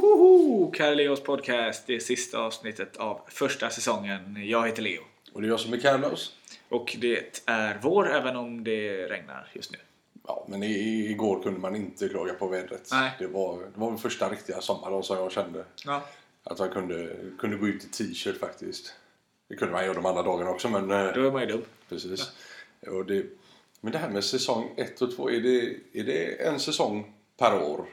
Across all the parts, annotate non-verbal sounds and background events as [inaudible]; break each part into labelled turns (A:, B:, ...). A: Tjoho! Kalle Leos podcast. Det är sista avsnittet av första säsongen. Jag heter Leo.
B: Och det är jag som är Carlos.
A: Och det är vår, även om det regnar just nu.
B: Ja, men i, i- igår kunde man inte klaga på vädret.
A: Nej.
B: Det var, det var väl första riktiga sommardagen som jag kände.
A: Ja.
B: Att man kunde, kunde gå ut i t-shirt faktiskt. Det kunde man göra de andra dagarna också, men... eh,
A: Då är man ju dum.
B: Precis. Och det, men det här med säsong 1 och 2, är det, är det en säsong per år?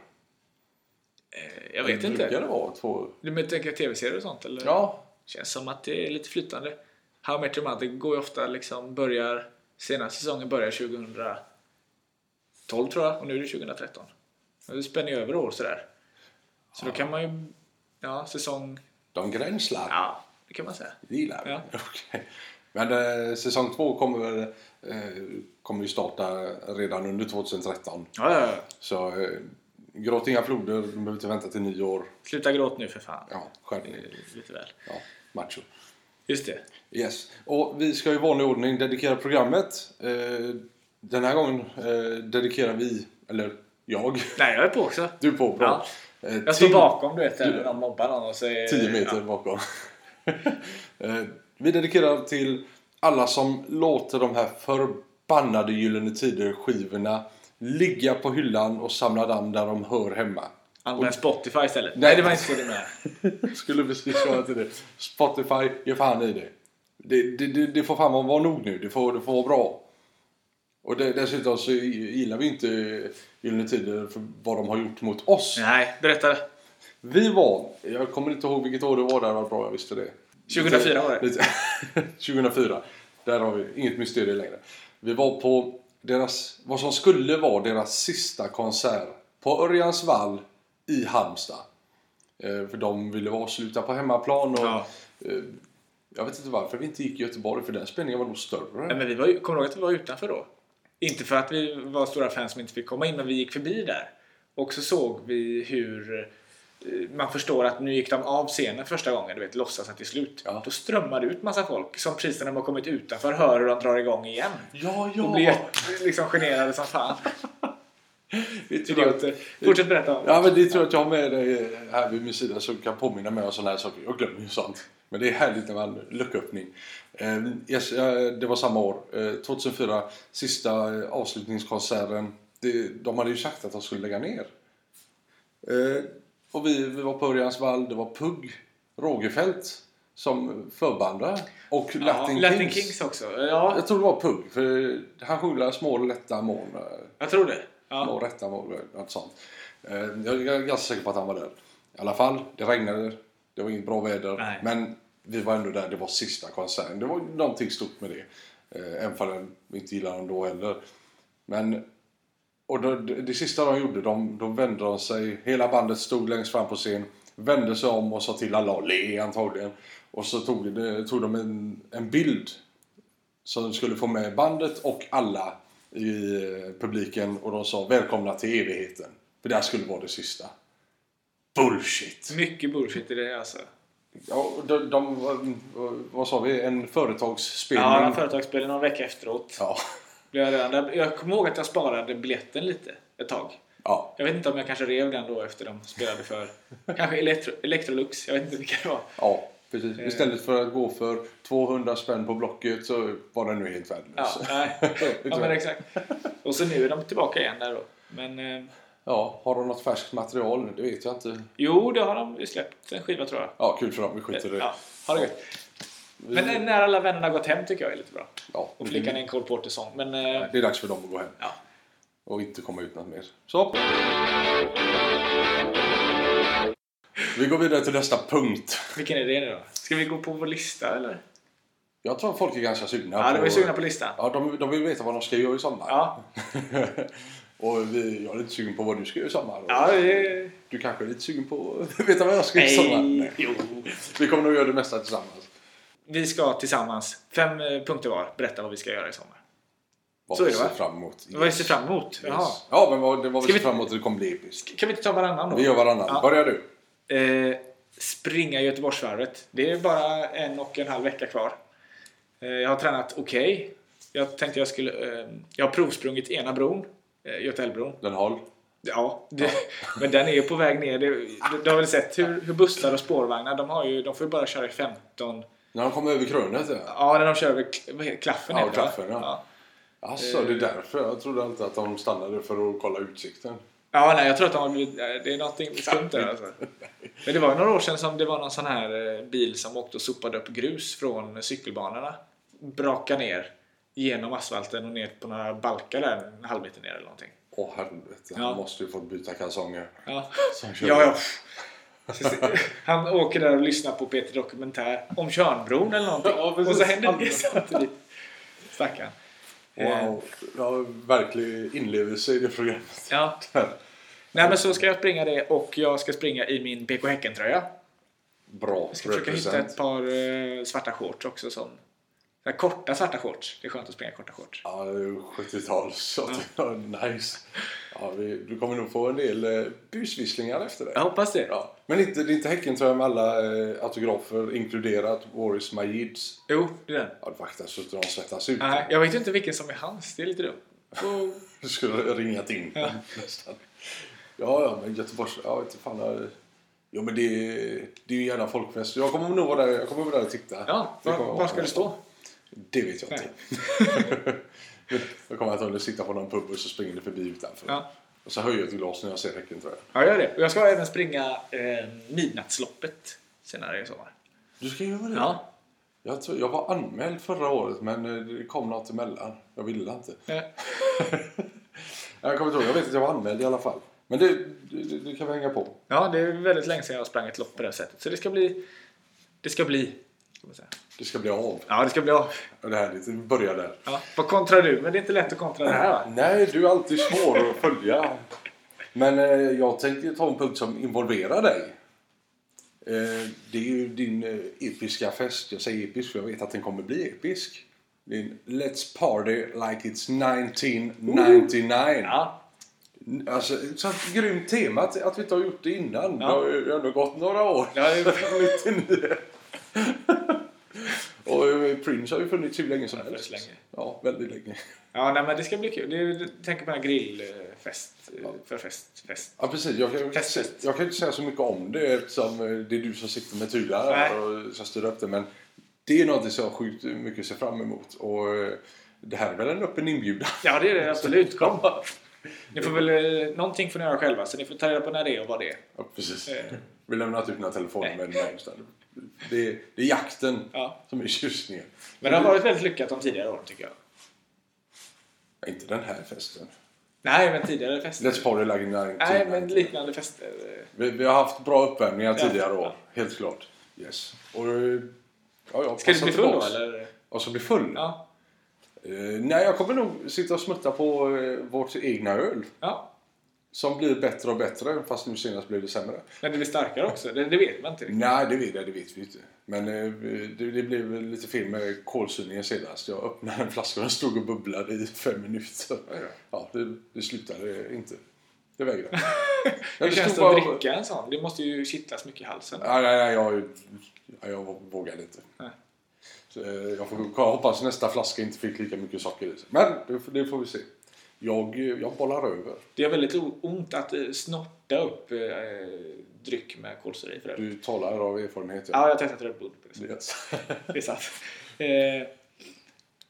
A: Eh, Jag vet
B: Brukar
A: inte.
B: det vara två?
A: Du menar tänka tv-serier och sånt eller?
B: Ja,
A: Känns som att det är lite flytande. How I Met Your Mother går ju ofta liksom börjar... Senaste säsongen börjar 2012 tror jag och nu är det 2013. Men Det spänner ju över år sådär. Så då kan man ju... Ja, säsong...
B: de gränslar.
A: Ja, det kan man säga.
B: Gillar?
A: Ja.
B: [laughs] Okej. Men eh, säsong 2 kommer, väl, eh, kommer ju starta redan under 2013.
A: Ja, ja, ja.
B: Så eh, gråt inga floder, du behöver inte vänta till nyår.
A: Sluta gråt nu för fan.
B: Ja, skärpning.
A: Lite väl.
B: Ja, macho.
A: Just det.
B: Yes. Och vi ska i vanlig ordning dedikera programmet. Eh, den här gången eh, dedikerar vi, eller jag, [laughs]
A: Nej, jag är på också.
B: du är på bra. Eh,
A: Jag står
B: till
A: bakom du vet, när någon mobbar någon och säger...
B: 10 meter bakom. [laughs] eh, vi dedikerar till alla som låter de här förbannade Gyllene Tider-skivorna ligga på hyllan och samla damm där de hör hemma.
A: Använd Spotify istället. Nej,
B: Nej,
A: det var inte så det med.
B: [laughs] Skulle precis köra till det. Spotify, ge fan i det. Det, det, det, det får fan vara nog nu. Det får, det får vara bra. Och det, dessutom så gillar vi inte Gyllene Tider för vad de har gjort mot oss.
A: Nej, berätta.
B: Vi var, jag kommer inte ihåg vilket år det var där, vad bra jag visste det.
A: 2004 var det.
B: Lite- [laughs] 2004. Där har vi inget mysterium längre. Vi var på deras, vad som skulle vara deras sista konsert på Örjans vall i Halmstad. Eh, för de ville avsluta på hemmaplan och
A: Ja.
B: eh, jag vet inte varför vi inte gick i Göteborg för den spelningen var nog större.
A: Nej, men vi var, ju- kommer du ihåg att vi var utanför då? Inte för att vi var stora fans som inte fick komma in, men vi gick förbi där. Och så såg vi hur eh, man förstår att nu gick de av scenen första gången, du vet, låtsas att det är slut.
B: Ja.
A: Då strömmar det ut massa folk som precis när de har kommit utanför hör hur de drar igång igen.
B: Ja,
A: Och
B: ja!
A: blir jätte- liksom generade som
B: [laughs]
A: fan.
B: Det tror jag-
A: Idioter. Fortsätt berätta om det.
B: Ja, men det tror jag att jag har med dig eh, här vid min sida som kan påminna mig om sådana här saker. Jag glömmer ju sånt. Men det är härligt när man lucköppning. Eh, yes, eh, det var samma år. Eh, 2004, sista eh, avslutningskonserten. Det, de hade ju sagt att de skulle lägga ner. Eh, och vi, vi var på Örjans vall, det var Pugg, Rogefeldt som förbandare och
A: Ja,
B: Latin,
A: Latin
B: Kings.
A: Kings också. Ja,
B: Jag tror det var Pugg, för han sjunger små lätta moln. eh,
A: jag tror det.
B: Ja.
A: Ja.
B: Rätta mål, något sånt. Eh, Jag jag är ganska säker på att han var där. I alla fall, det regnade, det var inget bra väder.
A: Nej.
B: Alltså, Men vi var ändå där, det var sista konserten. Det var någonting stort med det. Eh, Även om jag inte gillade dem då heller. Men, och det, det, det sista de gjorde, de, de vände de sig, hela bandet stod längst fram på scen, vände sig om och sa till alla att le antagligen. Och så tog, det, tog de en, en bild som skulle få med bandet och alla i eh, publiken och de sa välkomna till evigheten. För det här skulle vara det sista. Bullshit!
A: Mycket bullshit i det alltså.
B: Ja, och de, de, var- vad sa vi? En företagsspelning?
A: Ja, den företagsspelade någon vecka efteråt.
B: ja.
A: Blev jag, redan där. jag kommer ihåg att jag sparade biljetten lite ett tag.
B: ja.
A: Jag vet inte om jag kanske rev den då efter de spelade
B: [laughs]
A: för kanske Electro, Electrolux. Jag vet inte vilka det var.
B: Ja, precis.
A: Eh.
B: Istället för att gå för 200 spänn på Blocket så var den nu helt
A: Ja,
B: [laughs] värdelös.
A: nej. ja men exakt. Och så nu är de tillbaka igen där då. Men eh,
B: Ja, har de något färskt material? Det vet jag inte.
A: jo, det har de ju släppt en skiva tror jag.
B: Ja, kul för dem. Vi skiter i det.
A: Ja, ha det gött. Men eh, när alla vännerna har gått hem tycker jag är lite bra.
B: Ja,
A: Och flickan är en Cole Porter-sång. Men eh,
B: Det är dags för dem att gå hem
A: ja.
B: och inte komma ut något mer. Så! Vi går vidare till nästa punkt.
A: Vilken är det nu då? Ska vi gå på vår lista eller?
B: Jag tror folk är ganska sugna
A: Ja, de är sugna på listan.
B: Ja, de, de vill veta vad de ska göra i sommar.
A: Ja,
B: [laughs] och vi, jag är lite sugen på vad du ska göra i sommar.
A: ja Typ det...
B: Du kanske är lite sugen på att [laughs] veta vad jag ska göra i sommar.
A: Nej,
B: Nej.
A: jo.
B: Vi kommer nog göra det mesta tillsammans.
A: Vi ska tillsammans, fem eh, punkter var, berätta vad vi ska göra i sommar.
B: Vad
A: Så är
B: vi
A: det,
B: ser
A: va?
B: fram emot.
A: Vad vi ser fram emot? Jaha.
B: Yes. Ja, men vad, det var vi
A: Ska
B: ser
A: vi-
B: fram emot att det kommer bli episkt.
A: Kan vi inte ta varannan då?
B: Vi gör varannan.
A: Ja.
B: Börjar du.
A: Eh, springa Göteborgsvarvet. Det är bara en och en halv vecka kvar. Eh, jag har tränat okej. Jag tänkte jag skulle... Eh, jag har provsprungit ena bron, eh, Götaälvbron.
B: Den håll.
A: Ja, det, men den är ju på väg ner. Det, du, du har väl sett hur, hur bussar och spårvagnar, de, har ju, de får ju bara köra i 15...
B: När de kommer över krönet ja.
A: Ja, när de kör över kl- vad heter det? klaffen.
B: Ja,
A: heter det, va?
B: klaffen, ja.
A: Ja.
B: Alltså,
A: Eh.
B: det är därför. Jag trodde alltid att de stannade för att kolla utsikten.
A: Ja, nej, jag tror att de har blivit, nej, det är någonting skumt där alltså. Men det var ju några år sedan som det var någon sån här eh, bil som åkte och sopade upp grus från cykelbanorna. Braka ner genom asfalten och ner på några balkar där en halv meter ner eller någonting.
B: Åh helvete,
A: Ja.
B: han måste ju fått byta kalsonger.
A: Ja,
B: Som kör.
A: ja. ja. Han åker där och lyssnar på Peter Dokumentär om Tjörnbron eller någonting.
B: Ja, precis.
A: och så händer det samtidigt. Stackarn. Eh,
B: Wow, ja, verklig inlevelse i det programmet.
A: Ja. Nej men så ska jag springa det och jag ska springa i min BK Häcken-tröja.
B: Bra
A: Jag ska försöka hitta ett par eh, svarta shorts också. Som, så här korta svarta shorts. Det är skönt att springa korta shorts.
B: Ja, det är ju 70-tal så
A: Mm.
B: att, ja. nice. Ja, vi, du kommer nog få en del eh, busvisslingar efter det.
A: Jag hoppas det.
B: Ja. Men inte, det är inte Häckentröja med alla eh, autografer inkluderat Boris Majids.
A: Jo, det är den.
B: Ja, vakta så att de svettas ut. [laughs]
A: Nej, jag vet ju inte vilken som är hans. Det är lite dumt. Och-
B: Du skulle ha ringat in ja. [laughs] nästan. Ja, ja, men Göteborgs... Ja, inte fan. jag- Jo, men det, är- det är ju gärna folkfest. Jag kommer nog vara där, jag kommer vara där och titta.
A: Ja,
B: Det kommer
A: var,
B: jag
A: var
B: ihåg.
A: ska du stå?
B: Det vet jag
A: Nej.
B: inte. [laughs] jag kommer antagligen sitta på någon pub och så springer det förbi utanför.
A: Ja.
B: Och så höjer jag ett glas när jag ser häcken tror jag.
A: Ja, gör det. Och jag ska även springa eh, Midnattsloppet senare i sommar.
B: Du ska göra det?
A: Ja.
B: Jag, tror, jag var anmäld förra året men eh, det kom något emellan. Jag ville inte.
A: Eh,
B: Jag kommer inte ihåg, jag vet att jag var anmäld i alla fall. Men det, det, det kan vi hänga på.
A: Ja, det är väldigt länge sedan jag sprang ett lopp på det här sättet. Så det ska bli... Det ska bli... ska man säga.
B: Det ska bli av.
A: Ja, det ska bli av.
B: Och Det här, det börjar där.
A: Ja. Vad kontrar du? Men det är inte lätt att kontra det här va?
B: Nej, du är alltid svår att följa. Men eh, jag tänker ta en punkt som involverar dig. Eh, det är ju din eh, episka fest. Jag säger episk för jag vet att den kommer bli episk. Din Let's Party Like It's 1999.
A: Ja.
B: Alltså, så att, grymt tema att, att vi inte har gjort det innan.
A: Ja.
B: Det har ju ändå gått några år.
A: Ja, det är-
B: 99. [laughs] Och eh, Prince har ju funnits hur länge som
A: Ja,
B: helst.
A: väldigt länge.
B: Ja, väldigt länge.
A: Ja, nej, men det ska bli kul. Det är, tänk på den här grillfest. eh, För fest, fest.
B: Ja precis, jag kan, jag, kan,
A: Testet.
B: jag kan inte säga så mycket om det eftersom eh, det är du som sitter med tyglar här och ska styra upp det. Men det är något som jag sjukt mycket ser fram emot. Och eh, det här är väl en öppen inbjudan. [laughs]
A: Ja, det är det absolut. Kom. Ni får väl, eh, någonting får ni göra själva, så ni får ta reda på när det är och vad det är.
B: Ja, precis.
A: Eh.
B: Vi lämnar inte ut några telefoner med den här inställningen. det, är- det är jakten
A: Ja.
B: som är tjusningen.
A: Men det har varit väldigt lyckat de tidigare åren, tycker jag.
B: Inte den här festen.
A: Nej, men tidigare fester.
B: Let's party like nine.
A: Nej, men liknande fester. eh.
B: vi, vi har haft bra uppvärmningar
A: Ja.
B: tidigare år.
A: Ja.
B: Helt klart. Yes. Och, eh, ja, jag
A: Ska du
B: passar
A: bli full då,
B: tillbaks.
A: eller?
B: Och så bli full?
A: Ja.
B: Eh, nej, jag kommer nog sitta och smutta på eh, vårt egna öl.
A: ja.
B: Som blir bättre och bättre, fast nu senast blev det sämre.
A: Men det blir starkare också. Det, det vet man inte riktigt.
B: Nej, det vet, jag, det vet vi inte. Men eh, det, det blev väl lite fel med kolsyringen senast. Jag öppnade en flaska och den stod och bubblade i fem minuter. Ja, det, det slutade inte. Det vägrade.
A: [laughs] Hur känns
B: stod
A: det
B: bara-
A: att dricka en sån? Det måste ju kittlas mycket i halsen.
B: Nej, nej, nej, jag, ja, jag vågade inte.
A: Nej.
B: Så, eh, jag får jag hoppas nästa flaska inte fick lika mycket socker i sig. Men det, får- det får vi se. Jag, eh, jag bollar över.
A: Det gör väldigt o- ont att eh, snorta upp eh, dryck med kolsyra i för övrigt.
B: Du talar av erfarenhet.
A: Ja, jag har testat Red Bull på det.
B: Yes. [laughs]
A: Det är sant. Eh,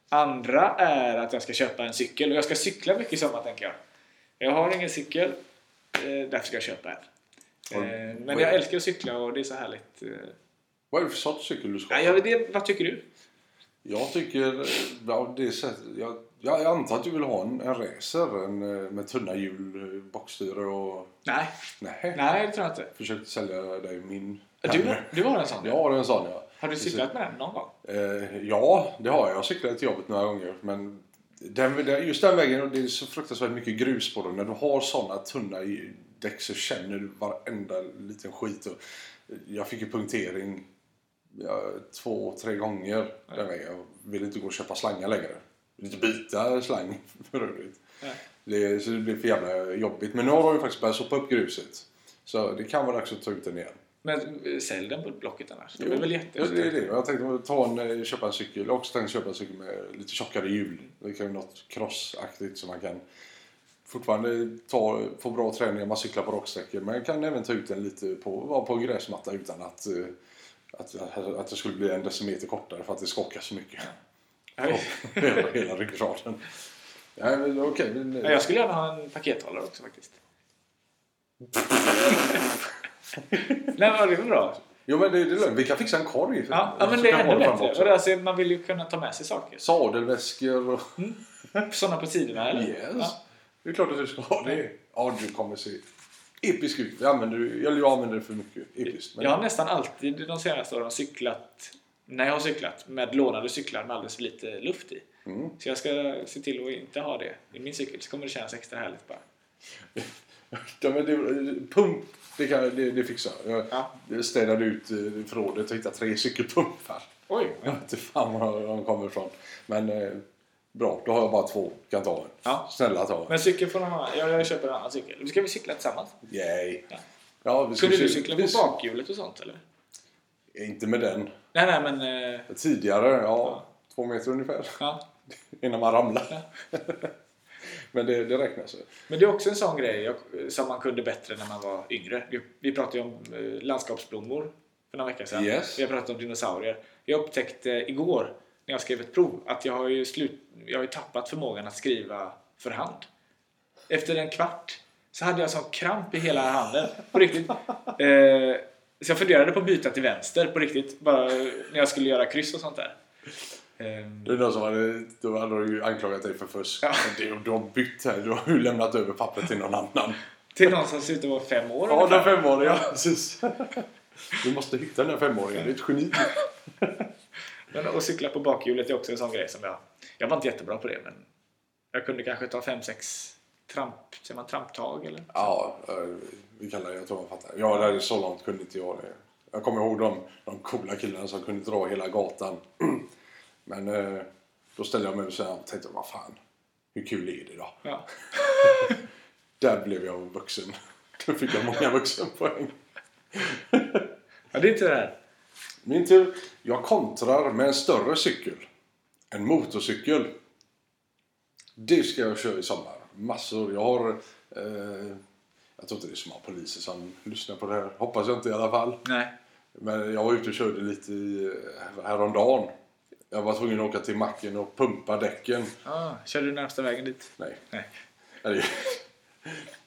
A: andra är att jag ska köpa en cykel. Och jag ska cykla mycket i sommar, tänker jag. Jag har ingen cykel. Eh, därför ska jag köpa en.
B: Och-
A: Eh,
B: vad
A: men
B: är
A: jag
B: det?
A: älskar att cykla och det är så härligt. Eh,
B: Vad är det för sorts cykel du ska ha?
A: nej, jag vet det, vad tycker du?
B: Jag tycker... eh, Ja, det är så, jag, jag jag antar att du vill ha en, en racer en, eh, med tunna hjul, eh, bockstyre och...
A: Nej,
B: Nej.
A: nej det tror jag inte.
B: Försökte sälja dig min...
A: Du, du har en sån?
B: Jag har en sån, ja.
A: Har du
B: Precis.
A: cyklat med den någon gång?
B: Eh, ja, det har jag. Jag cyklade till jobbet några gånger. Men den, den, just den vägen, och det är så fruktansvärt mycket grus på den. När du har sådana tunna i- däck så känner du varenda liten skit. Och jag fick ju punktering ja, två, tre gånger den vägen. Jag ville inte gå och köpa slangar längre. Jag vill inte byta slang [laughs] för övrigt.
A: Nej.
B: Det, så det blev för jävla jobbigt. Men nu har de ju faktiskt börjat sopa upp gruset. Så det kan vara dags att ta ut den igen.
A: Men eh, sälj den på Blocket annars. Det
B: Jo,
A: är väl
B: ja, det är
A: jätte...
B: det. Jag tänkte ta en, eh, köpa en cykel. Jag har också tänkt köpa en cykel med lite tjockare hjul. Det kan ju något crossaktigt som man kan fortfarande ta, få bra träning när man cyklar på raksträckor men kan även ta ut den lite på, vara på gräsmatta utan att, eh, att, att, att det skulle bli en decimeter kortare för att det skakar så mycket.
A: Nej.
B: Och [laughs] hela, hela ryggraden. Nej, men okej. men- eh,
A: Ja, Jag skulle gärna ha en pakethållare också
B: [laughs]
A: faktiskt. Nej men det är väl bra?
B: Jo men det, det är lugnt. Vi kan fixa en korg. för-
A: Ja, ja men
B: så
A: det
B: kan
A: är
B: vi
A: ännu
B: ha framme
A: bättre.
B: också.
A: Och det, alltså, man vill ju kunna ta med sig saker.
B: Sadelväskor och...
A: Sådana på tiderna eller?
B: Yes.
A: Ja.
B: Det är klart att du ska ha det. Ja, du kommer se episk ut. Jag använder, ju- eller jag använder det för mycket. Episkt. Men
A: Jag har nästan alltid de senaste åren cyklat när jag har cyklat med lånade cyklar med alldeles för lite luft i.
B: Mm.
A: Så jag ska se till att inte ha det i min cykel så kommer det kännas extra härligt bara.
B: [laughs] Ja, men det, pump, det, kan, det, det fixar jag. Jag städade ut eh, förrådet och hittade tre cykelpumpar.
A: Oj!
B: Jag vet inte fan var de kommer ifrån. Men eh, bra, då har jag bara två. Kan ta en.
A: Ja.
B: Snälla ta en.
A: Men cykel får de ha. Jag, jag köper en annan cykel. Nu ska vi cykla tillsammans.
B: Yay.
A: Ja.
B: Ja, vi ska
A: Kunde du
B: se-
A: cykla på
B: vi-
A: bakhjulet och sånt eller?
B: Inte med den.
A: Nej, nej men... eh,
B: Tidigare, ja.
A: Ja.
B: Två meter ungefär. [laughs]
A: Ja.
B: Innan man ramlar. [laughs] men det, det räknas. ju.
A: Men det är också en sån grej jag- som man kunde bättre när man var yngre. Vi- Vi pratade ju om eh, landskapsblommor för några veckor sedan.
B: Yes.
A: Vi har pratat om dinosaurier. Jag upptäckte igår när jag skrev ett prov att jag har ju, slut, jag har ju tappat förmågan att skriva för hand. Efter en kvart så hade jag sån kramp i hela handen. På
B: [laughs]
A: riktigt. Eh, så jag funderade på att byta till vänster på riktigt. Bara när jag skulle göra kryss och sånt där. Ehm,
B: Det är någon som hade, då hade de ju anklagat dig för fusk.
A: Ja.
B: Men det- Du har bytt här. Du har ju lämnat över pappret till någon annan.
A: till någon som ser ut att vara fem år
B: Ja,
A: ungefär.
B: den femåriga. Precis. Du måste hitta den här femåringen. Det är ett geni.
A: Men att cykla på bakhjulet är också en sån grej som jag... Jag var inte jättebra på det, men jag kunde kanske ta 5-6 tramp... Säger man tramptag eller?
B: Ja, eh, vi kallar det. Jag tror man fattar. Ja, det är så långt kunde inte jag det. Jag kommer ihåg de, de coola killarna som kunde dra hela gatan. [clears throat] Men eh, då ställde jag mig och sa- tänkte, vad fan, hur kul är det då?
A: Ja.
B: Där blev jag vuxen. [laughs] Då fick jag många vuxenpoäng.
A: ja, det är inte det här.
B: Min tur. Jag kontrar med en större cykel. En motorcykel. Det ska jag köra i sommar. Massor. Jag har... Eh, jag tror inte det är så många poliser som lyssnar på det här. Hoppas jag inte i alla fall.
A: Nej.
B: Men jag var ute och körde lite i, eh, häromdagen. Jag var tvungen att åka till macken och pumpa däcken.
A: Ah, kör du närmsta vägen dit?
B: Nej.
A: Nej.
B: Eller-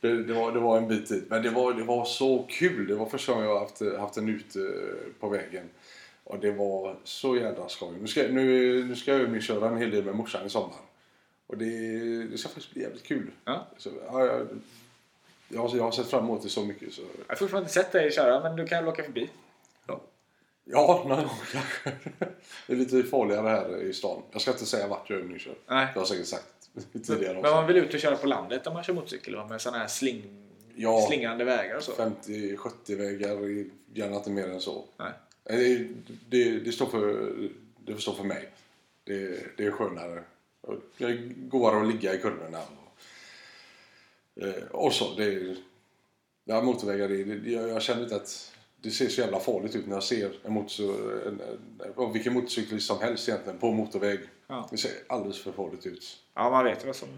B: Det, det, var, det var en bit dit. Men det var, det var så kul. Det var första gången jag har haft, haft den ute på vägen. Och det var så jädra skoj. Nu ska, nu, nu ska jag övningsköra en hel del med morsan i sommar. Och det, det ska faktiskt bli jävligt kul.
A: Ja.
B: Så, ja, jag, jag, har- jag har sett fram emot det så mycket. Så,
A: Jag har fortfarande inte sett dig köra, men du kan väl åka förbi?
B: ja, någon gång kanske. [laughs] Det är lite farligare här i stan. Jag ska inte säga vart jag övningskör.
A: Nej.
B: Det har jag säkert sagt tidigare
A: Men
B: också.
A: man vill ut och köra på landet om man kör motorcykel va? med såna här sling...
B: Ja.
A: slingrande vägar och så?
B: 50-70 vägar, är gärna inte mer än så.
A: Nej.
B: Nej, Det, det, det, står för, det får stå för mig. Det, det är skönare. Och Jag går att ligga i kurvorna. Och, eh, och så. Det, det här motorvägar, det, det, jag, jag känner inte att det ser så jävla farligt ut när jag ser en motor, en, en, och vilken motorcyklist som helst egentligen på motorväg.
A: Ja.
B: Det ser alldeles för farligt ut.
A: ja, man vet ju vad som...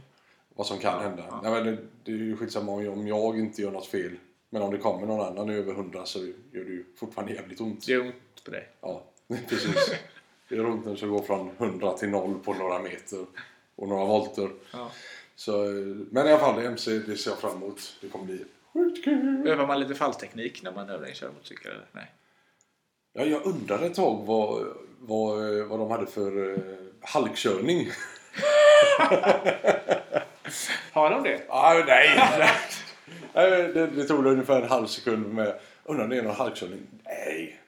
B: Vad som kan hända. Nej, men det, det är ju skitsamma om jag, om jag inte gör något fel. Men om det kommer någon annan över 100 så gör det ju fortfarande jävligt ont.
A: Det gör ont på dig.
B: Ja, [laughs] precis. Det är roligt när det går från 100 till 0 på några meter och några volter.
A: Ja.
B: Så, eh, men i alla fall, det är MC det ser jag fram emot. Det kommer bli sjukt kul.
A: Övar man lite fallteknik när man övningskör motorcykel? Eller? Nej.
B: Ja, jag undrade ett tag vad, vad, eh, vad de hade för eh, halkkörning.
A: Har de det?
B: Ah, nej, [laughs] nej. Nej, det, det tog ungefär en halv sekund med undrar om det är någon halkkörning. Nej,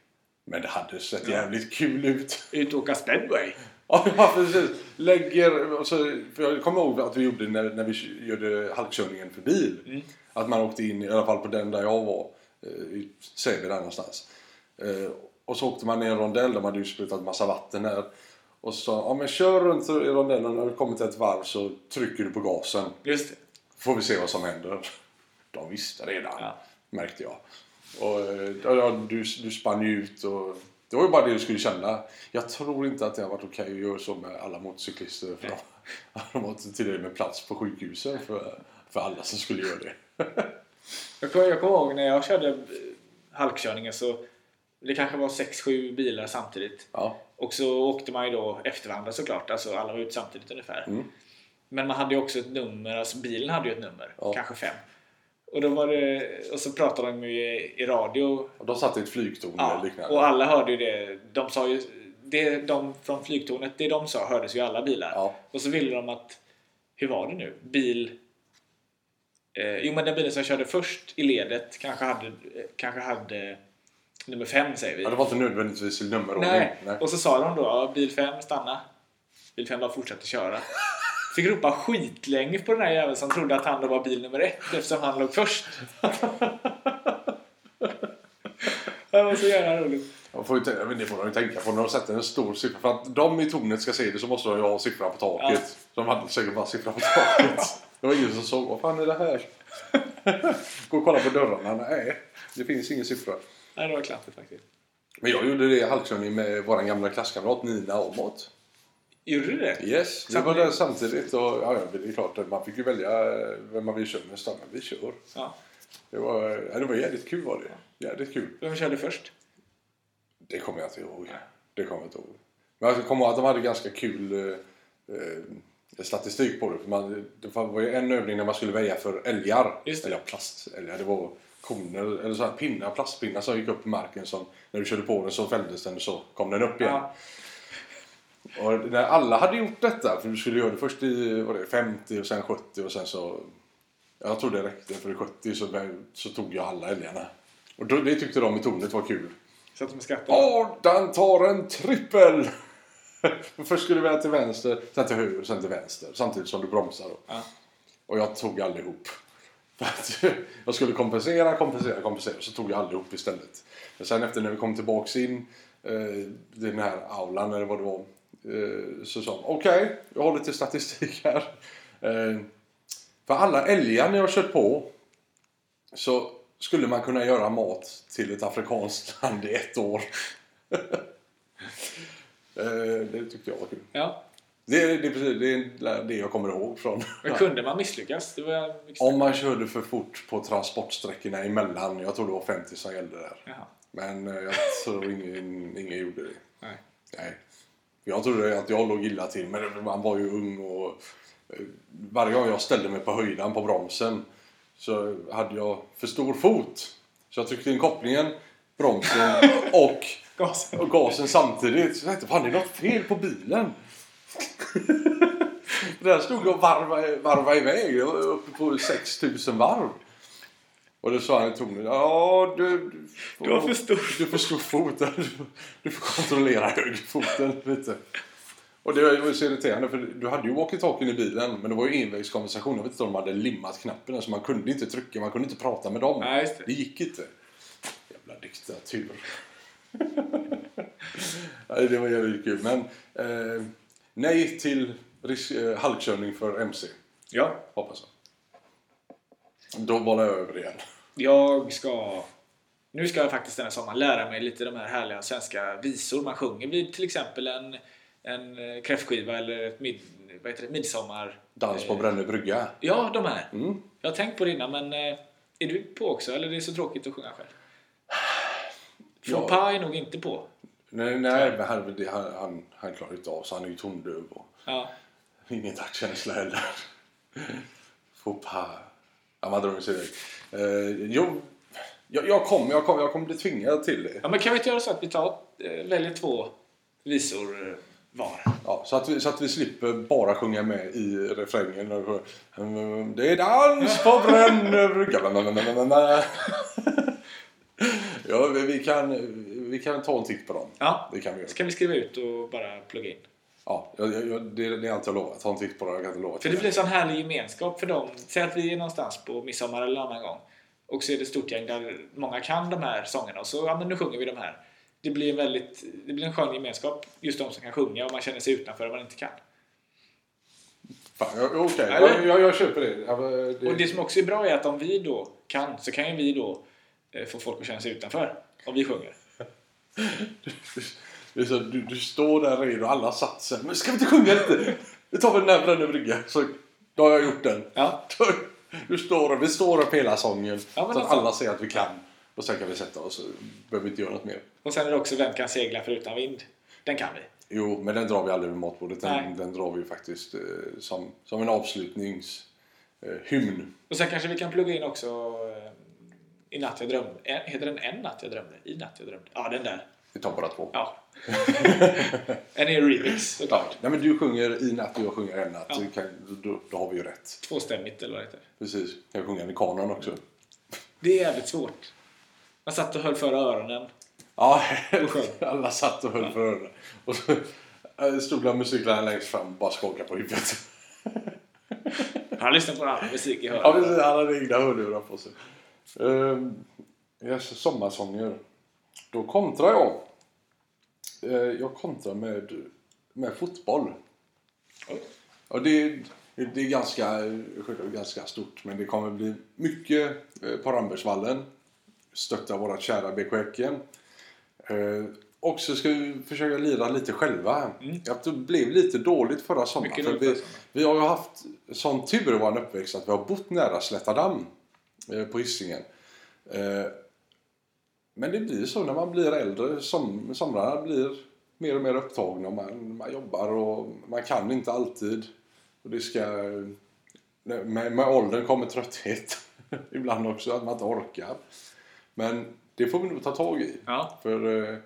B: men det hade sett jävligt kul ut.
A: Ut och åka speedway?
B: [laughs] Ja, precis. Lägger, och så, för jag kommer ihåg att vi gjorde när, när vi gjorde halkkörningen för bil. Att man åkte in, i alla fall på den där jag var, eh, i Säby där någonstans. Eh, Och så åkte man ner i en rondell, de hade ju sprutat massa vatten här. Och så sa ja men kör runt i rondellen och när du kommer till ett varv så trycker du på gasen.
A: Just det.
B: Får vi se vad som händer. De visste redan,
A: Ja.
B: märkte jag. Och eh, ja, ja, du, du spann ju ut och det var ju bara det du skulle känna. Jag tror inte att det har varit okej att göra så med alla motorcyklister för de, de har inte tillräckligt med plats på sjukhusen för för alla som skulle göra det.
A: Jag kommer, jag kommer ihåg när jag körde eh, halkkörningen så det kanske var 6-7 bilar samtidigt.
B: Ja,
A: Och så åkte man ju då efter varandra såklart, alltså alla var ute samtidigt ungefär.
B: Mm.
A: Men man hade ju också ett nummer, alltså bilen hade ju ett nummer,
B: Ja.
A: kanske fem. Och, då var det, och så pratade de ju i, i radio
B: och de satt i ett flygtorn
A: ja,
B: eller liknande.
A: och alla hörde ju det. De sa ju, det de från flygtornet, det de sa hördes ju i alla bilar.
B: Ja.
A: Och så ville de att, hur var det nu? Bil... Eh, jo men den bilen som körde först i ledet kanske hade, eh, kanske hade nummer fem säger vi.
B: Ja, det var inte nödvändigtvis i nummerordning.
A: Nej.
B: Nej.
A: Och så sa de då, ja, bil 5 stanna. Bil 5 bara fortsatte köra.
B: [laughs]
A: Fick ropa skitlänge på den här jäveln som trodde att han då var bil nummer ett eftersom han låg först. [laughs] det var så jävla roligt.
B: Man får ju, tän- men det får de ju tänka på när de sätter en stor siffra. För att de i tornet ska se det så måste de ju ha siffran på taket. De hade säkert bara siffran på taket. Det var ingen som såg. Vad fan är det här? Gå och kolla på dörrarna. Nej, det finns ingen siffra.
A: Nej, det var klantigt faktiskt.
B: Men jag gjorde det i halkkörning med vår gamla klasskamrat Nina Åmåt.
A: Gjorde du det?
B: Yes, vi var
A: Samtidigt.
B: där samtidigt. Och, ja, ja, det är klart, att man fick ju välja eh, vem man vill köra med. Stanna, vi kör.
A: Ja.
B: Det var, ja, det var jävligt kul var det. Jävligt kul.
A: Vem körde först?
B: Det kommer jag inte ihåg. Det kommer jag inte ihåg. Men jag kommer ihåg att de hade ganska kul eh, eh, statistik på det. För man, det var ju en övning när man skulle väja för älgar.
A: Just det.
B: Eller plastälgar. Det var koner, eller så här pinnar, plastpinnar som gick upp i marken. Som, när du körde på den så fälldes den och så kom den upp igen.
A: Ja.
B: Och när alla hade gjort detta, för du skulle göra det först i vad var det, 50 och sen 70 och sen så... Jag tror det räckte, för i 70 så, så tog jag alla älgarna. Och då, det tyckte de i tornet var kul.
A: Så att de skrattade.
B: Åh, den tar en trippel! [laughs] Först skulle du välja till vänster, sen till höger, sen till vänster. Samtidigt som du bromsar då.
A: Ja.
B: Och jag tog allihop. För att [laughs] jag skulle kompensera, kompensera, kompensera. Så tog jag allihop istället. Men sen efter när vi kom tillbaks in eh, i den här aulan eller vad det var. Eh, så sa de, okej, jag har lite statistik här. Eh, för alla älgar ni har kört på så skulle man kunna göra mat till ett afrikanskt land i ett år. [laughs] Eh, det tyckte jag var kul.
A: Ja.
B: Det är, det, är precis, det är det jag kommer ihåg från.
A: Men kunde man misslyckas? Det var mycket
B: Om man körde för fort på transportsträckorna emellan. Jag tror det var 50 som gällde där.
A: Jaha.
B: Men eh, jag tror ingen, ingen gjorde det.
A: Nej.
B: Nej. Jag trodde att jag låg illa till, men man var ju ung och eh, varje gång jag ställde mig på höjden på bromsen så hade jag för stor fot. Så jag tryckte in kopplingen, bromsen och,
A: Gasen.
B: och gasen samtidigt. Så jag tänkte, fan det är något fel på bilen. Där stod jag och varvade, varvade iväg. Jag var uppe på 6000 varv. Och då sa han i tonen, ja du... Du får-
A: Du har för stor
B: du får slå foten. [laughs] Du- Du får kontrollera högerfoten lite. Och det var ju så irriterande för du hade ju walkie-talkien i bilen men det var ju envägskonversation. Jag vet inte om de hade limmat knappen så man kunde inte trycka, man kunde inte prata med dem.
A: Nej, just det.
B: det gick inte. Jävla diktatur. [laughs] Nej, det var jävligt kul men eh, nej till risk, eh, halkkörning för MC.
A: Ja.
B: Hoppas jag. Då bollar jag över igen.
A: Jag ska... Nu ska jag faktiskt den här sommaren lära mig lite de här härliga svenska visor man sjunger vid till exempel en, en eh, kräftskiva eller ett mid, vad heter det, midsommar...
B: Dans på
A: eh,
B: Brännö brygga.
A: Ja, de här.
B: Mm.
A: Jag har tänkt på det innan, men eh, är du på också? Eller är det så tråkigt att sjunga själv?
B: Ja.
A: Från Pa är nog inte på.
B: Nej, nej men han, det, han, han, han klarar inte av så han är ju tondöv och
A: Ja.
B: ingen taktkänsla heller. Faux pas. Ja, man drar ju sig iväg. Eh, jo, jag, jag kommer jag kom, jag kom bli tvingad till det.
A: ja, men kan vi inte göra så att vi tar, eh, väljer två visor eh, var?
B: Ja, så, att vi, så att vi slipper bara sjunga med i refrängen. när vi sjunger, "Mm, Det är dans på Brännö Ja, vi, vi, kan, vi kan ta en titt på dem.
A: Ja.
B: Det kan vi göra.
A: Så kan vi skriva ut och bara plugga in.
B: Ja, jag, jag, jag- det, det är allt jag lovar. Ta en titt på dem. Jag kan inte lova
A: För det blir sån härlig gemenskap för dem. Säg att vi är någonstans på midsommar eller annan gång. Och så är det ett stort gäng där många kan de här sångerna och så ja, men nu sjunger vi de här. Det blir en väldigt, det blir en skön gemenskap. Just de som kan sjunga och man känner sig utanför och man inte kan.
B: Fan, ja, Okej,
A: Eller?
B: jag, jag, jag köper det. Ja, men det,
A: Och det som också är bra är att om vi då kan så kan ju vi då eh, få folk att känna sig utanför. Om vi sjunger.
B: det är så, du, du står där redo, alla satser. Men ska vi inte sjunga lite? Vi tar väl den här Brännö brygga, så då har jag gjort den.
A: Ja,
B: Då, Du står, vi står upp hela sången
A: Ja, men
B: så att
A: alltså-
B: alla ser att vi kan. Och sen kan vi sätta oss och behöver vi inte göra något mer.
A: Och sen är det också Vem kan segla förutan vind? Den kan vi.
B: Jo, men den drar vi aldrig vid matbordet.
A: Nej.
B: Den, den drar vi faktiskt eh, som, som en avslutningshymn. Eh, hymn.
A: Och sen kanske vi kan plugga in också eh, I natt jag drömde. En, heter den En natt jag drömde? I natt jag drömde? Ja, den där.
B: vi tar bara två.
A: Ja.
B: [laughs]
A: en är ju remix såklart.
B: Nej, men du sjunger i natt och jag sjunger en natt.
A: Ja.
B: Du Kan, då, då har vi ju rätt.
A: Tvåstämmigt eller vad det heter.
B: Precis. Kan vi sjunga den i kanon också?
A: Mm. Det är jävligt svårt. Man satt och höll för öronen.
B: Ja,
A: Och sjöng.
B: [laughs] alla satt och höll för öronen. Och så eh, stod den musikläraren längst fram och bara skakade på huvudet.
A: Han lyssnade på all musik i
B: Ja,
A: hörlurar.
B: precis. Han hade egna hörlurar på sig. Ehm, yes, sommarsånger. Då kontrar jag. Eh, jag kontrar med, med fotboll.
A: Oj.
B: Och det, det är ganska, självklart ganska stort, men det kommer bli mycket eh, på Rambergsvallen. Stötta våra kära BK Häcken. Eh, och så ska vi försöka lira lite själva. Jag, det blev lite dåligt förra sommaren.
A: Mm. Mycket
B: För
A: dåligt
B: vi,
A: förra sommaren.
B: vi har ju haft sån tur i vår uppväxt att vi har bott nära Slättadamm eh, på Hisingen. Eh, men det blir så när man blir äldre. Som, somrarna blir mer och mer upptagna och man, man jobbar och man kan inte alltid. Och det ska, med, med åldern kommer trötthet [laughs] ibland också, att man inte orkar. Men det får vi nog ta tag i.
A: Ja.
B: För eh,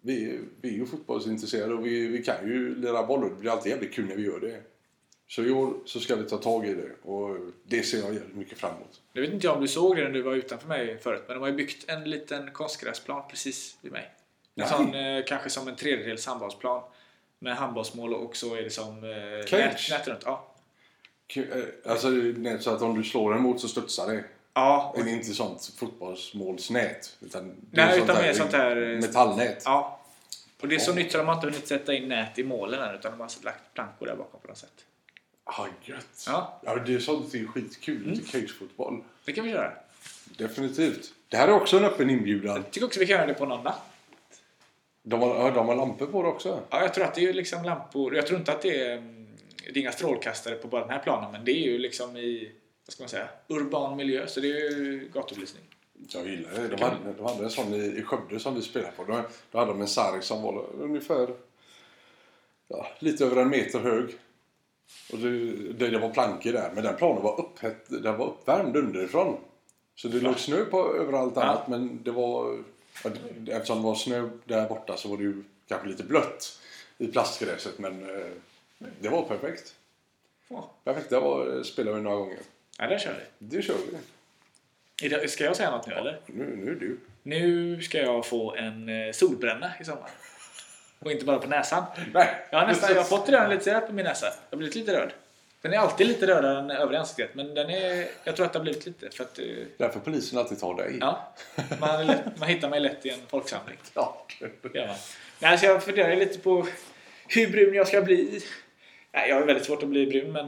B: vi, vi är ju fotbollsintresserade och vi, vi kan ju lira boll och det blir alltid jävligt kul när vi gör det. Så i år så ska vi ta tag i det och det ser jag jävligt mycket fram emot.
A: Nu vet inte jag om du såg det när du var utanför mig förut, men de har ju byggt en liten konstgräsplan precis vid mig. En
B: Nej.
A: sån, eh, kanske som en tredjedels handbollsplan. Med handbollsmål och så är det som eh,
B: Cage.
A: nät, nät runt. Ja.
B: Kul, eh, Alltså det är så att om du slår en mot så studsar det.
A: Ja,
B: Det är inte sånt fotbollsmålsnät. Utan det är
A: Nej,
B: sånt
A: utan
B: där
A: mer sånt här- eh,
B: Metallnät.
A: ja. Och det är så nytt så de har inte hunnit sätta in nät i målen än, utan de har lagt plankor där bakom på något sätt.
B: Ah, gött.
A: Ja. Mm.
B: ja, det är sånt det är skitkul. Lite cagefotboll.
A: Det kan vi göra.
B: Definitivt. Det här är också en öppen inbjudan.
A: Jag tycker också vi kan göra det på någon natt.
B: De har, ja, de har lampor på det också.
A: Ja, jag tror att det är ju liksom lampor. Jag tror inte att det är, mm, det är inga strålkastare på bara den här planen, men det är ju liksom i, vad ska man säga, urban miljö, så det är ju gatubelysning.
B: Jag gillar det. De hade, de hade en sån i, i Skövde som vi spelade på. Då, då hade de en sarg som var ungefär ja, lite över en meter hög. Och det, det, det var plankor där. Men den planen var, upphett, den var uppvärmd underifrån. Så det låg snö på överallt
A: Ja.
B: annat. Men det var... Eftersom det var snö där borta så var det ju kanske lite blött i plastgräset. Men eh, det var perfekt.
A: Ja,
B: Perfekt. Det var, spelade vi några gånger.
A: ja där kör vi.
B: Det kör vi.
A: Är det- Ska jag säga något nu eller?
B: Nu, nu är du.
A: Nu ska jag få en eh, solbränna i sommar. Och inte bara på näsan.
B: Nej!
A: Jag har nästan
B: precis.
A: jag har fått redan lite röd på min näsa. Jag har blivit lite röd. Den är alltid lite rödare än övriga ansiktet, men den är, jag tror att det har blivit lite för att eh,
B: Därför polisen alltid tar dig.
A: Ja, man, är lätt, man hittar mig lätt i en folksamling.
B: Ja.
A: Det gör man. Nej, så jag funderar lite på hur brun jag ska bli. Nej, jag har väldigt svårt att bli brun, men,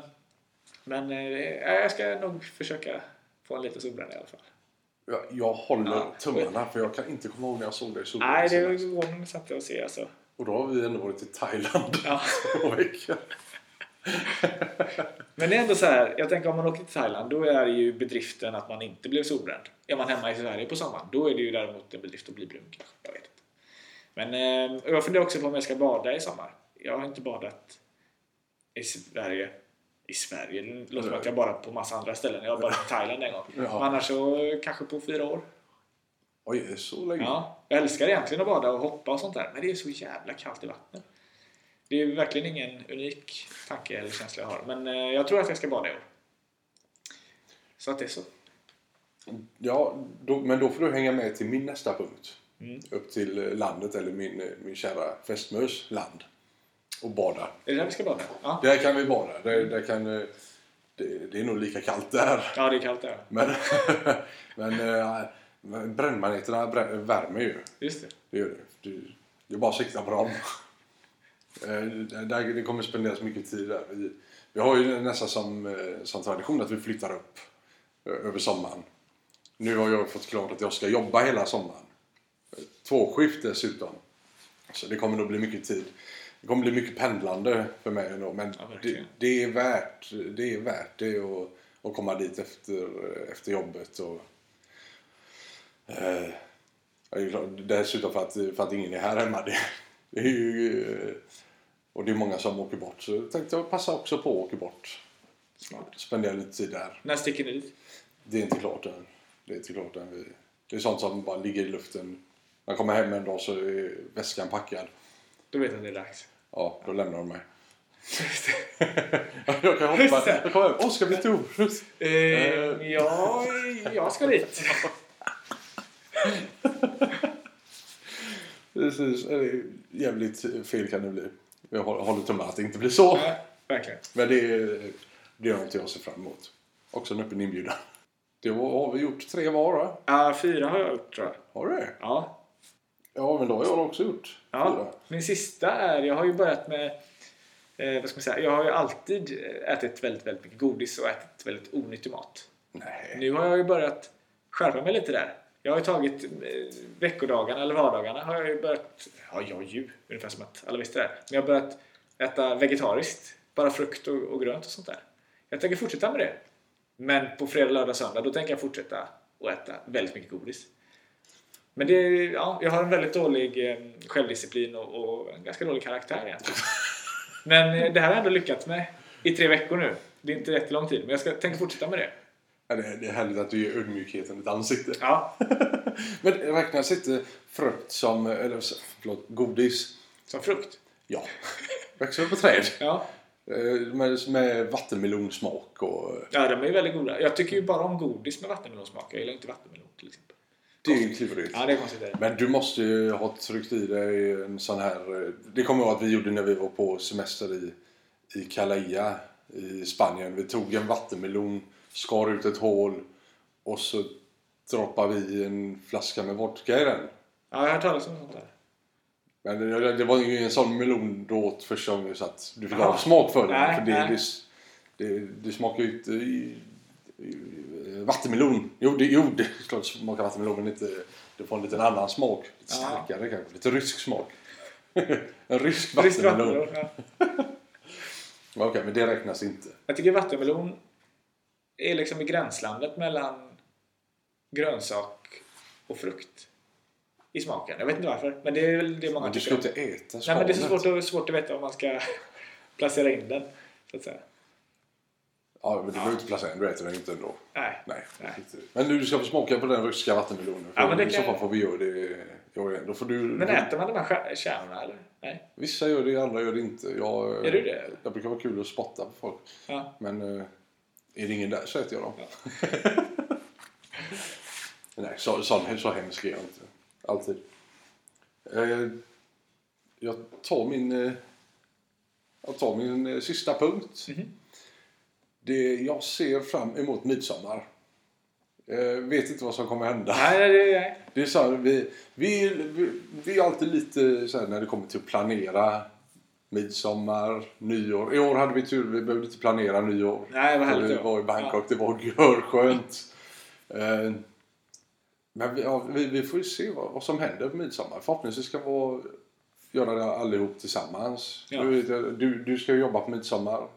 A: men eh, jag ska nog försöka få en liten solbränna i alla fall.
B: Jag, jag håller
A: Ja.
B: tummarna för jag kan inte komma ihåg när jag såg dig i solen
A: Nej, det är
B: senast.
A: förvånansvärt att se alltså.
B: Och då har vi ändå varit i Thailand [laughs]
A: Ja.
B: två veckor.
A: Men det är ändå så här, jag tänker om man åker till Thailand, då är ju bedriften att man inte blev solbränd. Är man hemma i Sverige på sommaren, då är det ju däremot en bedrift att bli brun kanske. Jag vet inte. Men eh, och jag funderar också på om jag ska bada i sommar. Jag har inte badat i Sverige. I Sverige? Det låter som att jag badat på massa andra ställen. Jag har badat i Thailand en gång.
B: Ja.
A: Men annars så eh, kanske på fyra år.
B: Oj, så länge?
A: Ja, jag älskar egentligen att bada och hoppa och sånt där, men det är så jävla kallt i vattnet. Det är ju verkligen ingen unik tanke eller känsla jag har, men eh, jag tror att jag ska bada i år. Så att det är så.
B: Ja, då, men då får du hänga med till min nästa punkt.
A: Mm.
B: Upp till eh, landet eller min, eh, min kära fästmös land. Och bada.
A: Är det där vi ska bada? Ja,
B: Där kan vi bada.
A: Mm.
B: Där, där kan, eh, det, det är nog lika kallt där.
A: ja det är kallt där.
B: Men, [laughs] men eh, men brännmaneterna brä- värmer ju.
A: Just det.
B: Det gör det. Du, det är bara att sikta på dem. [laughs] Eh, det- där- det kommer spenderas mycket tid där. Vi, vi har ju nästan som, eh, som tradition att vi flyttar upp eh, över sommaren. Nu har jag fått klart att jag ska jobba hela sommaren. Eh, Tvåskift dessutom. Så det kommer nog bli mycket tid. Det kommer bli mycket pendlande för mig ändå. Men
A: Ja, verkligen.
B: det, det är värt det. Är värt det och, och komma dit efter, efter jobbet. Och, eh, ja, det är klart, dessutom för att, för att ingen är här hemma. [laughs] Det, det är ju, eh, och det är många som åker bort. Så jag tänkte jag passa också på att åka bort.
A: Smart.
B: Spendera lite tid där.
A: När sticker ni dit?
B: Det är inte klart än. Det är inte klart än. Vi- Det är sånt som bara ligger i luften. När jag kommer hem en dag så är väskan packad.
A: Då vet ni att det är dags.
B: Ja, då lämnar de mig. [laughs] jag kan hoppa. Jag kommer hem. Åh, ska vi till
A: [laughs]
B: Orust?
A: Eh, ja, jag ska dit.
B: Precis. Eller, Jävligt fel kan det bli. Jag hå- håller tummarna att det inte blir så.
A: Ja, verkligen.
B: Men det, är- det är något jag ser fram emot. Också en öppen inbjudan. Det har vi gjort tre var, va?
A: Ja, fyra har jag gjort tror jag.
B: Har du det?
A: Ja.
B: Ja, men då har jag också gjort
A: ja. Min sista är, jag har ju börjat med, eh, vad ska man säga, jag har ju alltid eh, ätit väldigt, väldigt mycket godis och ätit väldigt onyttig mat.
B: Nej.
A: Nu har jag ju börjat skärpa mig lite där. Jag har ju tagit eh, veckodagarna eller vardagarna har jag ju börjat, ja jag ju, ungefär som att alla visste det här. Men jag har börjat äta vegetariskt, bara frukt och, och grönt och sånt där. Jag tänker fortsätta med det. Men på fredag, lördag, söndag då tänker jag fortsätta och äta väldigt mycket godis. Men det, är- ja, jag har en väldigt dålig eh, självdisciplin och, och en ganska dålig karaktär egentligen. Men eh, det här har jag ändå lyckats med i tre veckor nu. Det är inte jättelång tid, men jag ska, tänker fortsätta med det.
B: Ja, Det är det är härligt att du ger ödmjukheten ett ansikte.
A: Ja,
B: Men räknas inte frukt som, eller förlåt, godis?
A: Som frukt?
B: Ja. [laughs] Växer på träd.
A: Ja.
B: Eh, Med, med vattenmelonsmak och... eh,
A: ja, de är ju väldigt goda. Jag tycker ju bara om godis med vattenmelonsmak. Jag gillar inte vattenmelon till exempel.
B: Det är ju klurigt.
A: Ja, det är konstigt. det är det.
B: Men du måste ju ha tryckt i dig en sån här... eh, Det kommer jag ihåg att vi gjorde när vi var på semester i, i Calaya i Spanien. Vi tog en vattenmelon, skar ut ett hål och så droppade vi i en flaska med vodka i den.
A: Ja, jag har hört talas om sånt där.
B: Men det, det var ju ingen sån melon du åt första gången så att du fick
A: Jaha.
B: ha smak för den.
A: Nej,
B: för
A: nej.
B: det, det, det, det smakar ju inte i, i, vattenmelon. Jo, det, jo, det är klart smakar vattenmelon men inte, det får en liten annan smak. Lite
A: Ja.
B: starkare kanske. Lite rysk smak. [laughs] en rysk
A: Friskt
B: vattenmelon.
A: vattenmelon. Ja.
B: Ja, Okej, men det räknas inte.
A: Jag tycker vattenmelon är liksom i gränslandet mellan grönsak och frukt i smaken. Jag vet inte varför, men det är väl det många
B: Men du
A: tycker
B: ska
A: om.
B: inte äta
A: Nej, men det är så
B: skalet.
A: svårt, att- svårt att veta om man ska [laughs] placera in den. Så att säga.
B: Ja, men du behöver inte placera den. Du äter den inte ändå.
A: Nej.
B: Nej.
A: Nej.
B: Men du ska få smaka på den ryska vattenmelonen.
A: Ja, men det
B: I så
A: kan-
B: fall får vi göra det i år igen. Då får du...
A: Men äter man de här skär- kärnorna eller? Nej.
B: Vissa gör det, andra gör det inte. Jag, eh,
A: Är du det?
B: Det brukar vara kul att spotta på folk.
A: Ja.
B: Men eh, är det ingen där så äter jag dem. [laughs] Nej, så, så, så hemsk är jag inte. Alltid. Eh, jag tar min, eh, jag tar min eh, sista punkt.
A: Mhm.
B: Det, jag ser fram emot midsommar. Eh, vet inte vad som kommer hända.
A: Nej, nej, nej, nej.
B: Det är så här, vi, vi, vi, vi är alltid lite så här när det kommer till att planera midsommar, nyår. I år hade vi tur, vi behövde inte planera nyår.
A: Nej, vad
B: För
A: härligt
B: vi
A: det var.
B: var i Bangkok, det var görskönt. Eh, Men vi, ja, vi, vi får ju se vad, vad som händer på midsommar. Förhoppningsvis ska vi göra det allihop tillsammans.
A: Ja.
B: Du, vet, du, du ska ju jobba på midsommar.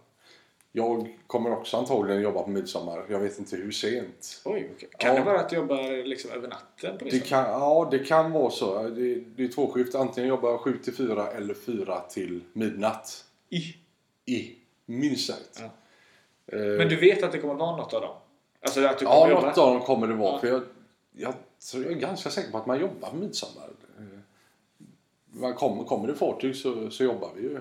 B: Jag kommer också antagligen jobba på midsommar. Jag vet inte hur sent.
A: Oj, okej. Kan
B: Ja.
A: det vara att du jobbar liksom över natten? På
B: Det
A: det sättet?
B: kan, ja, det kan vara så. Det, det är två skift. Antingen jobbar jag 7 till 4 eller 4 till midnatt.
A: I.
B: I, minst sagt.
A: Ja.
B: Eh,
A: Men du vet att det kommer vara något av dem? Alltså att du
B: ja,
A: kommer jobba?
B: något av dem kommer det vara.
A: Ja.
B: För jag, jag, tror, jag är ganska säker på att man jobbar på midsommar. Eh, Man kommer, kommer det fartyg så, så jobbar vi ju.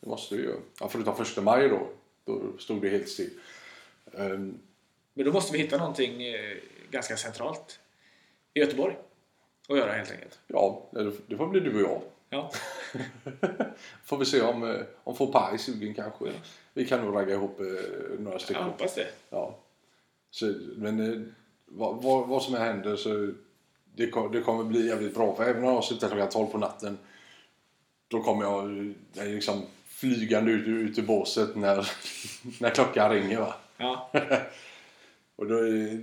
B: Det måste vi ju. Ja, förutom första maj då. Då stod det helt still. Eh,
A: Men då måste vi hitta någonting eh, ganska centralt i Göteborg att göra helt enkelt.
B: ja, det får bli du och jag.
A: Ja,
B: Får vi se om, eh, om får paj sugen kanske. Vi kan nog ragga ihop eh, några
A: jag
B: stycken.
A: hoppas det.
B: Ja. Så, men eh, vad, vad, vad som än händer så det, kom- det kommer bli jävligt bra. För även om jag slutar klockan 12 på natten då kommer jag eh, liksom flygande ut, ut ur båset när, [laughs] när klockan ringer. Va?
A: Ja,
B: Och då, är-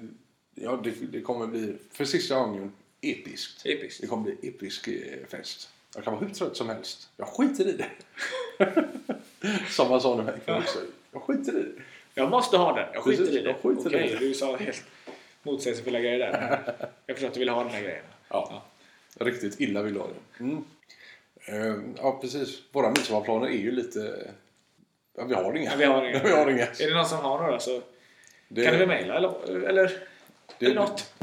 B: ja, det, det kommer bli för sista gången episkt.
A: episkt.
B: Det kommer bli episk eh, fest. Jag kan vara hur trött som [laughs] helst. Jag skiter i det. som man sa när man gick på Lyxor. Jag skiter i det.
A: Jag måste ha den. Jag skiter
B: Precis,
A: i det.
B: jag skiter i
A: Okej,
B: det.
A: du sa helt motsägelsefulla grejer
B: [laughs]
A: där. Jag förstår att du vill ha den här grejen.
B: Ja. Riktigt illa vill du ha det. Mm. Eh, Ja, precis. Våra midsommarplaner är ju lite... Ja, vi har inga.
A: Men vi har inga.
B: [laughs] vi har inga.
A: Är det någon som har några så
B: Det-
A: kan du väl mejla eller, eller,
B: det-
A: eller något.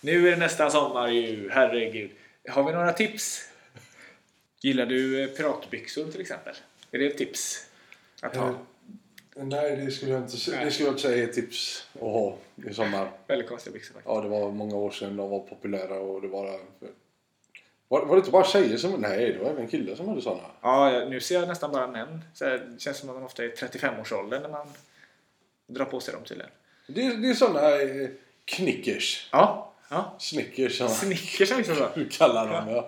A: Nu är det nästan sommar ju. Herregud. Har vi några tips? Gillar du eh, piratbyxor till exempel? Är det ett tips? Att ha?
B: Eh, Nej, det skulle jag inte,
A: Nej.
B: det skulle jag inte säga är ett tips att ha i sommar.
A: Väldigt konstiga byxor faktiskt.
B: Ja, det var många år sedan de var populära och det var... Var, var det inte bara tjejer som... Nej, det var även killar som hade sådana.
A: Ja, jag- nu ser jag nästan bara män. Så här, det känns som att man ofta är i 35-årsåldern när man drar på sig dem tydligen.
B: Det, är- det är sådana eh, knickers.
A: Ja, ja.
B: Snickers som
A: Snickers är liksom så.
B: [laughs] du kallar dem. Ja.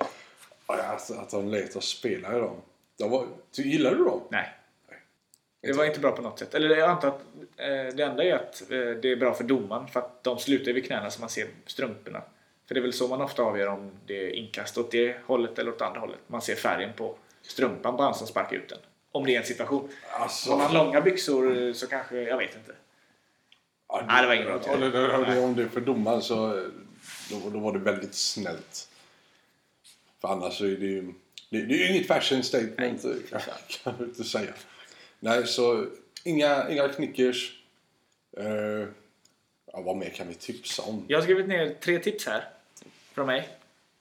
B: Ja, att, att de lät oss spela i dem. De var, ty, gillar du dem?
A: Nej. Det var inte bra på något sätt. Eller jag antar att eh, det enda är att eh, det är bra för domaren för att de slutar vid knäna så man ser strumporna. För det är väl så man ofta avgör om det är inkast åt det hållet eller åt andra hållet. Man ser färgen på strumpan på han som sparkar ut den. Om det är en situation. Har
B: Alltså,
A: man långa byxor eh, så kanske, jag vet inte.
B: ja,
A: Nej, det var inget bra.
B: ja, det- det- det- Om det är för domaren så eh, då, då var det väldigt snällt. För annars så är det ju... Det, det är ju inget fashion statement kan, [laughs] kan jag inte säga. Nej, så inga, inga knickers. Eh, ja, vad mer kan vi tipsa om?
A: Jag har skrivit ner tre tips här från mig.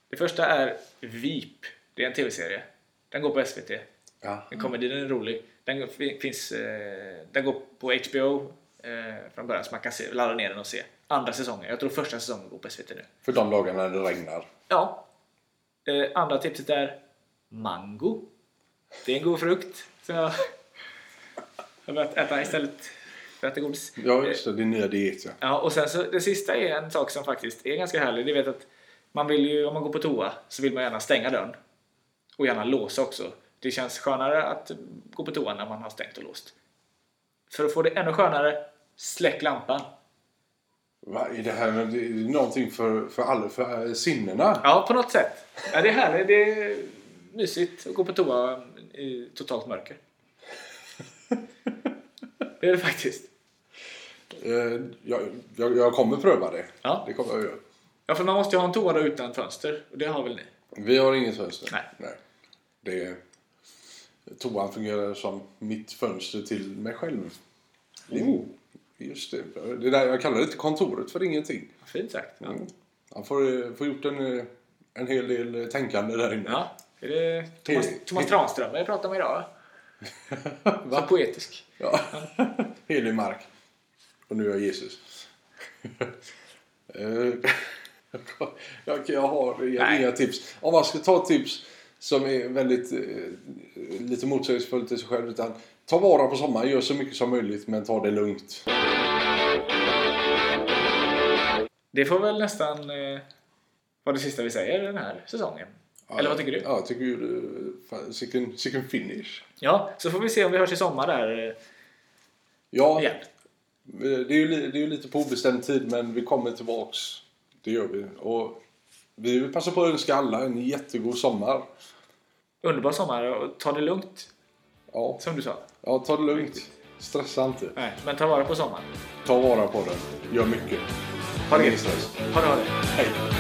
A: Det första är VIP. Det är en tv-serie. Den går på SVT.
B: Ja.
A: Den Mm. komedin är rolig. Den, fi- finns, eh, den går på HBO eh, från början så man kan se, ladda ner den och se. Andra säsongen. Jag tror första säsongen går på SVT nu.
B: För de dagarna det regnar.
A: Ja. Eh, andra tipset är mango. Det är en god frukt. Så jag [laughs] jag har börjat äta istället för att äta godis.
B: Ja, just det. Din nya diet, ja.
A: Ja, och sen så det sista är en sak som faktiskt är ganska härlig. Det vet att man vill ju, om man går på toa, så vill man gärna stänga dörren. Och gärna låsa också. Det känns skönare att gå på toa när man har stängt och låst. För att få det ännu skönare, släck lampan.
B: Va, är det här det är någonting för, för, alla, för eh, sinnena?
A: Ja, på något sätt. Ja, det är härligt. Det är mysigt att gå på toa i totalt mörker. Det är det faktiskt.
B: Eh, jag, jag, jag kommer pröva det.
A: Ja.
B: Det kommer jag göra.
A: Ja, för man måste ju ha en toa då utan fönster. Och det har väl ni?
B: Vi har inget fönster.
A: Nej.
B: Det är, toan fungerar som mitt fönster till mig själv.
A: Oh.
B: Just det. det där, jag kallar det till kontoret för ingenting.
A: Fint sagt. Ja.
B: Han får, eh, får gjort en, eh, en hel del eh, tänkande där inne.
A: Ja, är det Thomas,
B: Hej.
A: Thomas Tranströmer jag pratar med idag?
B: [laughs]
A: va? Så poetisk.
B: Ja. [laughs] Helig mark. Och nu är jag Jesus. [laughs] Eh, [laughs] jag, jag har inga,
A: Nej.
B: inga tips. Om man ska ta ett tips som är väldigt eh, lite motsägelsefullt till sig själv. Utan ta vara på sommaren, gör så mycket som möjligt men ta det lugnt.
A: Det får väl nästan eh, vara det sista vi säger den här säsongen. Eller vad tycker du?
B: Ja, jag tycker ju... eh, fan, Sicken sicken finish.
A: Ja, så får vi se om vi hörs i sommar där eh,
B: Ja, eh,
A: igen.
B: det är, ju, li- det är ju lite på obestämd tid men vi kommer tillbaks. Det gör vi. Och vi vill passa på att önska alla en jättegod sommar.
A: Underbar sommar och ta det lugnt
B: Ja.
A: som du sa.
B: Ja, ta det lugnt. Stressa inte.
A: Nej, men ta vara på sommaren.
B: Ta vara på den. Gör mycket.
A: Ha det
B: Ingen
A: gött.
B: stress.
A: Ha det, ha det.
B: Hej.